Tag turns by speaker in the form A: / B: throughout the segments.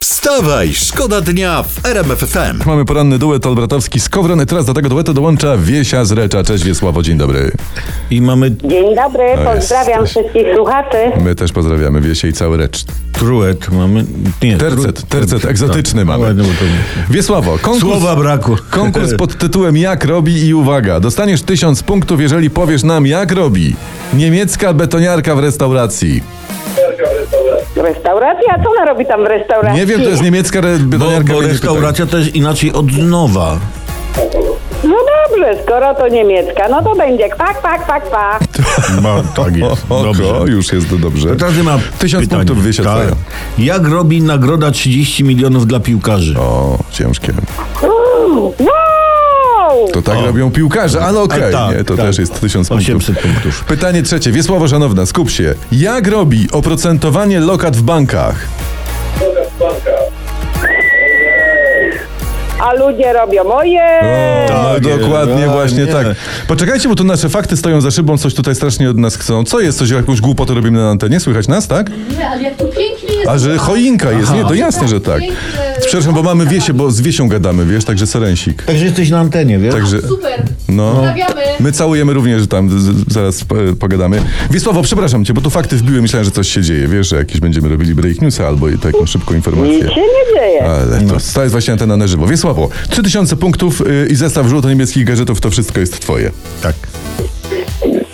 A: Wstawaj, szkoda dnia w RMF FM.
B: Mamy poranny duet olbratowski z Kowrony. Teraz do tego duetu dołącza Wiesia z Recza. Cześć Wiesławo, dzień dobry.
C: I mamy
D: Dzień dobry,
B: No
D: pozdrawiam
B: jesteś.
D: wszystkich słuchaczy.
B: My też pozdrawiamy Wiesię i cały Recz.
C: truet, mamy... Nie,
B: Tercet,
C: tru-
B: tercet egzotyczny
C: tak,
B: mamy.
C: ładnie, bo to-
B: Wiesławo, konkurs...
C: Słowa braku.
B: Konkurs pod tytułem Jak robi i uwaga, dostaniesz tysiąc punktów, jeżeli powiesz nam jak robi. Niemiecka betoniarka w restauracji.
D: Restauracja, co ona robi tam w restauracji?
B: Nie wiem, to jest niemiecka re-
C: Bo,
B: betoniarka.
C: bo
B: więc nie pytaj.
C: restauracja to jest inaczej od nowa.
D: No dobrze, skoro to niemiecka, no to będzie pak, pak, pak, pak.
C: No, tak jest.
B: O, o, już jest dobrze.
C: To każdy ma
B: Tysiąc
C: pytanie.
B: punktów wyświetlają.
C: Tak. Jak robi nagroda 30 milionów dla piłkarzy?
B: O, ciężkie.
D: Uuu, Wow!
B: To tak
C: O.
B: robią piłkarze, ale okej,
C: A, tak,
B: nie, to
C: tak.
B: też jest 1000 punktów.
C: 800 punktów.
B: Pytanie trzecie. Wiesławo Szanowna, skup się. Jak robi oprocentowanie lokat w bankach?
D: A ludzie robią, ojej!
B: no,
C: tak,
B: dokładnie,
C: nie,
B: właśnie
C: nie.
B: tak. Poczekajcie, bo tu nasze fakty stoją za szybą, coś tutaj strasznie od nas chcą. Co jest, coś jakąś głupotę robimy na antenie? Słychać nas, tak?
E: Nie, ale jak to pięknie jest.
B: A że choinka jest,
C: Aha.
B: nie, to jasne, że tak. Przepraszam, bo
E: Tak,
B: mamy Wiesię, bo z Wiesią gadamy, wiesz, także Serensik.
C: Także jesteś na antenie, wiesz?
B: Także...
E: Super.
B: No,
E: Pozdrawiamy.
B: my całujemy również tam, z- z- zaraz e, pogadamy. Wiesławo, przepraszam cię, bo tu fakty wbiły, myślałem, że coś się dzieje, wiesz, że jakieś będziemy robili break newsa albo i taką szybką informację.
D: Nic się nie dzieje.
B: Ale to, to jest właśnie antena na żywo. Wiesławo, 3000 punktów y, i zestaw żółto-niebieskich gadżetów, to wszystko jest twoje.
C: Tak.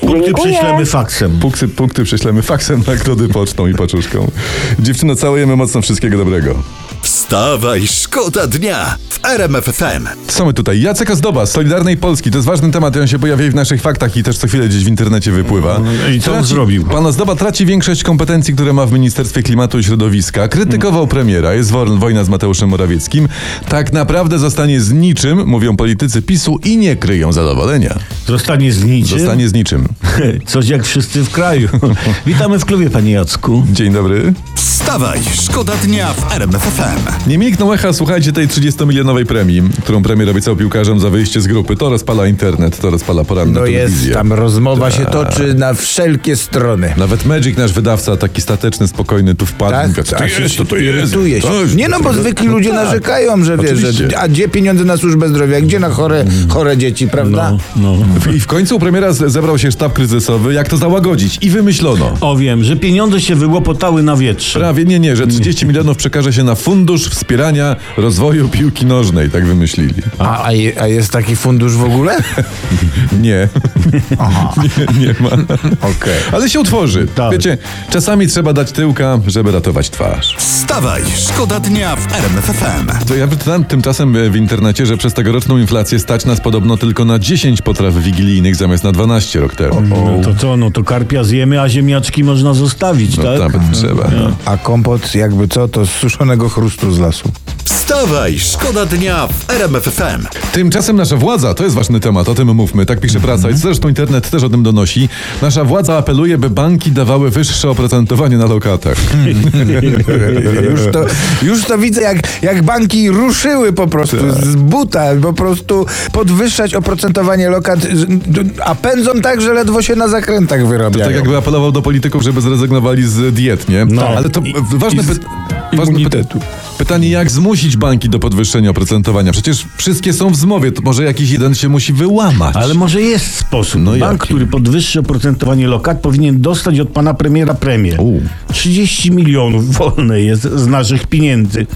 C: Punkty
D: Dziękuję.
C: prześlemy faksem.
B: Punkty, punkty prześlemy faksem, nagrody pocztą i paczuszką. Dziewczyno, całujemy mocno, wszystkiego dobrego.
A: Wstawaj, szkoda dnia w RMF FM.
B: Co my tutaj? Jacek Ozdoba z Solidarnej Polski. To jest ważny temat, on się pojawia i w naszych faktach i też co chwilę gdzieś w internecie wypływa.
C: No, I co on zrobił?
B: Pan Ozdoba traci większość kompetencji, które ma w Ministerstwie Klimatu i Środowiska. Krytykował premiera, jest wor- wojna z Mateuszem Morawieckim. Tak naprawdę zostanie z niczym, mówią politycy PiSu i nie kryją zadowolenia.
C: Zostanie z niczym.
B: Zostanie z niczym.
C: Coś jak wszyscy w kraju. Witamy w klubie, panie Jacku.
B: Dzień dobry.
A: Wstawaj, szkoda dnia w RMF FM.
B: Nie milknął echa, słuchajcie, tej 30-milionowej premii, którą premier obiecał piłkarzom za wyjście z grupy. To rozpala internet, to rozpala poranne
F: No jest,
B: telewizję. Tak.
F: tam rozmowa się toczy na wszelkie strony.
B: Nawet Magic, nasz wydawca, taki stateczny, spokojny, tu wpadł.
F: Tak,
B: mówi, co to
F: a się
B: jest, to to jest.
F: Irytuje się.
B: To jest,
F: Nie no, bo
B: to-
F: zwykli ludzie
B: tak.
F: narzekają, że wiesz,
B: Oczywiście. Mhm.
F: że, a gdzie pieniądze na służbę zdrowia, gdzie na chore, chore dzieci, prawda?
C: No.
B: W- I w końcu u premiera z- zebrał się sztab kryzysowy, jak to załagodzić. I wymyślono.
C: O wiem, że pieniądze się wyłopotały na wietrze.
B: Prawie nie, nie, że 30 milionów przekaże się na fundusz wspierania rozwoju piłki nożnej, tak wymyślili.
F: A, a, je, a jest taki fundusz w ogóle?
B: Nie. nie, nie ma.
F: Okej.
B: Ale się utworzy.
C: Tak.
B: Wiecie, czasami trzeba dać tyłka, żeby ratować twarz.
A: Wstawaj, szkoda dnia w RMF FM.
B: To ja wyczytałem tymczasem e, w internecie, że przez tegoroczną inflację stać nas podobno tylko na 10 potraw wigilijnych zamiast na 12 rok temu.
C: No to co, no to karpia zjemy, a ziemniaczki można zostawić,
B: No
C: tak?
B: tam trzeba.
F: A kompot, jakby co, to z suszonego chrustu z lasu.
A: Wstawaj, szkoda dnia w RMF FM.
B: Tymczasem nasza władza, to jest ważny temat, o tym mówmy, tak pisze
C: Mhm.
B: prasa i zresztą internet też o tym donosi. Nasza władza apeluje, by banki dawały wyższe oprocentowanie na lokatach.
C: Hmm,
F: Już to, już to widzę, jak, jak banki ruszyły po prostu z buta, po prostu podwyższać oprocentowanie lokat, z- a pędzą tak, że ledwo się na zakrętach wyrabiają.
B: Tak jakby apelował do polityków, żeby zrezygnowali z diet, nie?
C: No.
B: Ale to
C: I-
B: ważne,
C: i z
B: py... ważne
C: immunitetu.
B: py- pytanie, jak zmusić banki do podwyższenia oprocentowania? Przecież wszystkie są w zmowie, to może jakiś jeden się musi wyłamać.
C: Ale może jest sposób.
B: No
C: Bank,
B: jaki?
C: który podwyższy oprocentowanie lokat, powinien dostać od pana premiera premię.
B: U.
C: 30 milionów wolne jest z naszych pieniędzy.